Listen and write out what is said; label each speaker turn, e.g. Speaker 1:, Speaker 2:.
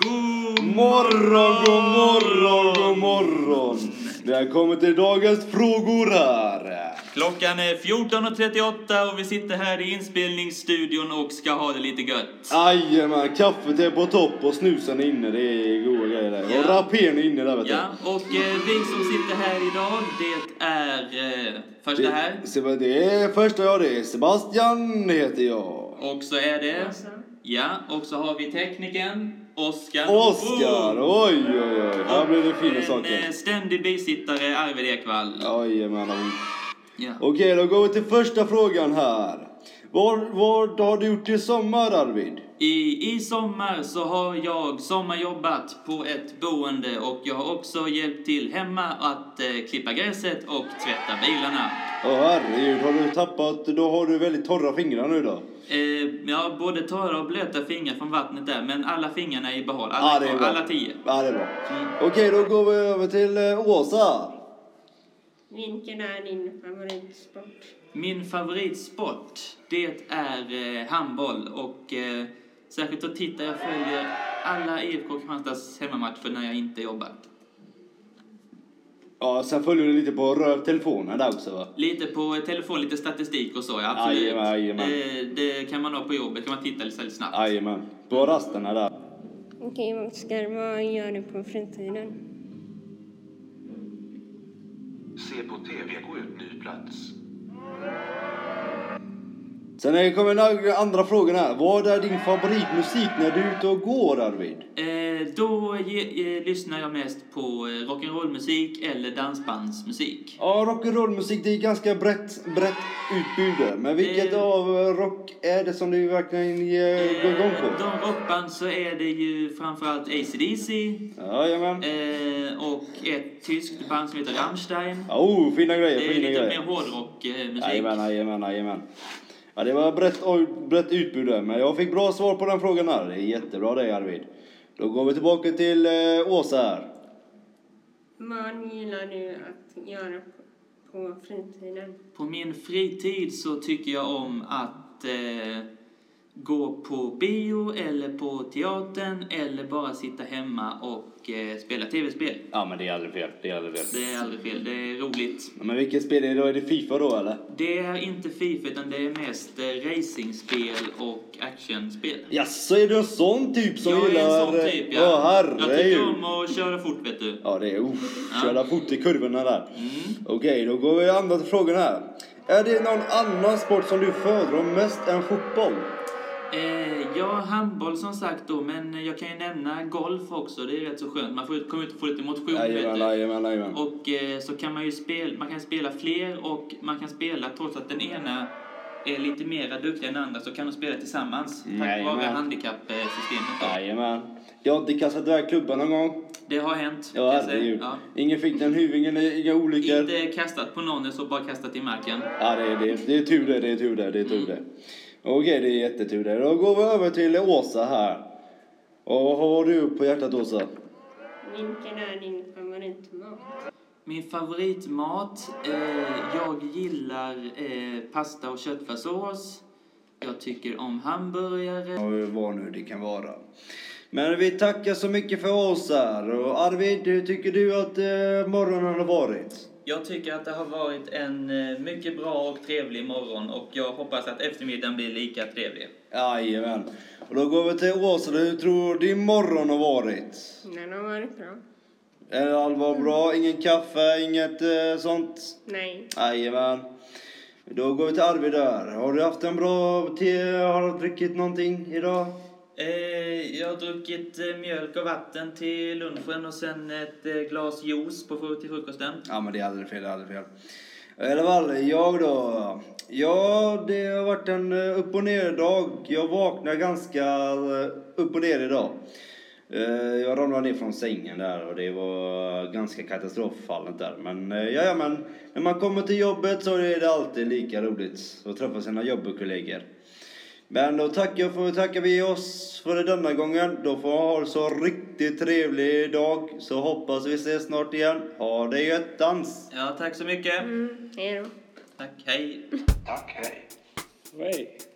Speaker 1: God
Speaker 2: Morgon, god morgon, god morgon! Vi har kommit till dagens frågor här.
Speaker 1: Klockan är 14.38 och vi sitter här i inspelningsstudion och ska ha det lite gött.
Speaker 2: Jajamän, kaffet är på topp och snusen är inne. Det är goda grejer där. Och
Speaker 1: Ja.
Speaker 2: rapen är inne där vet du.
Speaker 1: Ja, och eh, vi som sitter här idag, det är eh, först det här.
Speaker 2: Det, Seb- det är första jag det är. Sebastian heter jag.
Speaker 1: Och så är det... Ja, och så har vi tekniken Oskar.
Speaker 2: Oskar!
Speaker 1: Oh!
Speaker 2: Oj, oj, oj. Här blir det fina
Speaker 1: En eh,
Speaker 2: saker.
Speaker 1: ständig bisittare, Arvid Ekvall.
Speaker 2: Jajamän.
Speaker 1: Ja.
Speaker 2: Okej, då går vi till första frågan här. Vad, vad har du gjort i sommar, Arvid?
Speaker 1: I, I sommar så har jag sommarjobbat på ett boende och jag har också hjälpt till hemma att eh, klippa gräset och tvätta bilarna.
Speaker 2: Åh herregud, har du tappat, då har du väldigt torra fingrar nu då.
Speaker 1: Eh, jag har både torra och blöta fingrar från vattnet där, men alla fingrarna är i behåll. Alla,
Speaker 2: Ja,
Speaker 1: är
Speaker 2: det är
Speaker 1: kvar,
Speaker 2: bra.
Speaker 1: alla tio.
Speaker 2: Ja, det är bra.
Speaker 1: Mm.
Speaker 2: Okej, då går vi över till eh, Åsa.
Speaker 3: Vilken är din favoritsport?
Speaker 1: Min favoritsport, det är eh, handboll och eh, särskilt att titta, jag följer alla IFK Kristianstads hemmamatcher när jag inte jobbar.
Speaker 2: Ja, sen följer du lite på rör telefonen där också va?
Speaker 1: Lite på telefon, lite statistik och så, ja, absolut.
Speaker 2: Jajamän, jajamän.
Speaker 1: Eh, det kan man ha på jobbet, kan man titta lite så här snabbt.
Speaker 2: Jajamän, på rasterna där.
Speaker 3: Okej Oskar, vad gör du på fritiden?
Speaker 4: Se på TV, gå ut ny plats.
Speaker 2: Sen eh, kommer några andra frågor här. Vad är din favoritmusik när du är ute och går, Arvid?
Speaker 1: Eh, då ge, eh, lyssnar jag mest på eh, rock'n'roll-musik eller dansbandsmusik.
Speaker 2: Ja, rock'n'roll-musik, det är ganska brett, brett utbud. Men vilket
Speaker 1: Eh.
Speaker 2: av eh, rock är det som du verkligen eh, går igång
Speaker 1: Eh,
Speaker 2: på?
Speaker 1: de rockband så är det ju framförallt AC/DC
Speaker 2: Jajamän.
Speaker 1: eh, och ett tyskt band som heter Rammstein.
Speaker 2: Oh, fina grejer,
Speaker 1: Det är
Speaker 2: fina
Speaker 1: lite
Speaker 2: grejer.
Speaker 1: mer hårdrock eh, musik.
Speaker 2: Jajamän, jajamän, jajamän. Ja, det var brett, brett utbud där, men jag fick bra svar på den frågan här. Det är jättebra det Arvid. Då går vi tillbaka till eh, Åsa här.
Speaker 3: Vad gillar du att göra på, på fritiden?
Speaker 1: På min fritid så tycker jag om att eh, gå på bio eller på teatern eller bara sitta hemma och eh, spela tv-spel.
Speaker 2: Ja, men det är aldrig fel. Det är aldrig fel.
Speaker 1: Det är aldrig fel, det är roligt.
Speaker 2: Men vilket spel är det då? Är det Fifa då eller?
Speaker 1: Det är inte Fifa utan det är mest eh, racingspel och actionspel.
Speaker 2: Jaså, är du en sån typ som
Speaker 1: jag
Speaker 2: gillar...
Speaker 1: är en sån typ, ja.
Speaker 2: Åh,
Speaker 1: jag tycker
Speaker 2: herregud.
Speaker 1: om att köra fort, vet du.
Speaker 2: Ja, det är usch,
Speaker 1: Ja.
Speaker 2: köra fort i kurvorna där.
Speaker 1: Mm.
Speaker 2: Okej, då går vi andra till frågan här. Är det någon annan sport som du föredrar mest än fotboll?
Speaker 1: Eh, ja, handboll som sagt då, men jag kan ju nämna golf också. Det är rätt så skönt. Man får ut- komma ut och få lite motion,
Speaker 2: Jajamän,
Speaker 1: vet du.
Speaker 2: jajamän, jajamän.
Speaker 1: Och eh, så kan man ju spela, man kan spela fler och man kan spela trots att den ena är lite mer duktig än den andra så kan de spela tillsammans tack vare
Speaker 2: Jajamän.
Speaker 1: handikappsystemet. då.
Speaker 2: Jajamän. Jag har inte kastat iväg klubban någon gång.
Speaker 1: Det har hänt. kan
Speaker 2: Ja,
Speaker 1: jag säga.
Speaker 2: herregud.
Speaker 1: Ja.
Speaker 2: Ingen fick den huvingen, inga olyckor.
Speaker 1: Inte kastat på någon, så bara kastat i marken.
Speaker 2: Ja, det, är- det, är- det är tur det, det är tur det, det är tur det. Okej, det är jättetur det. Då går vi över till Åsa här. Och vad har du på hjärtat, Åsa?
Speaker 3: Vilken är din favoritmat?
Speaker 1: Min favoritmat? Eh, jag gillar eh, pasta och köttfärssås. Jag tycker om hamburgare.
Speaker 2: Ja, vad nu det kan vara. Men vi tackar så mycket för oss här. Och Arvid, hur tycker du att eh, morgonen har varit?
Speaker 1: Jag tycker att det har varit en eh, mycket bra och trevlig morgon och jag hoppas att eftermiddagen blir lika trevlig.
Speaker 2: Jajamän. Och då går vi till Åsa. Hur tror din morgon har varit?
Speaker 3: Den har varit bra.
Speaker 2: Eh, Allt var bra, ingen kaffe, inget eh, sånt?
Speaker 3: Nej.
Speaker 2: Jajamän. Då går vi till Arvid där. Har du haft en bra te? Har du druckit någonting idag?
Speaker 1: Eh, jag har druckit eh, mjölk och vatten till lunchen och sen ett eh, glas juice på, fru- till frukosten.
Speaker 2: Ja, men det är aldrig fel, det är aldrig fel. I alla fall, jag då. Ja, det har varit en eh, upp och ner-dag. Jag vaknade ganska eh, upp och ner idag. Eh, Jag ramlade ner från sängen där och det var ganska katastroffallet där. Men eh, ja, ja, men när man kommer till jobbet så är det alltid lika roligt att träffa sina jobbkollegor. Men då tackar, för, tackar vi oss för denna gången. Då får jag ha en så riktigt trevlig dag. Så hoppas vi ses snart igen. Ha det göttans!
Speaker 1: Ja, tack så mycket.
Speaker 3: Mm, hej då.
Speaker 1: Tack, hej.
Speaker 4: Tack, hej.
Speaker 5: Hej.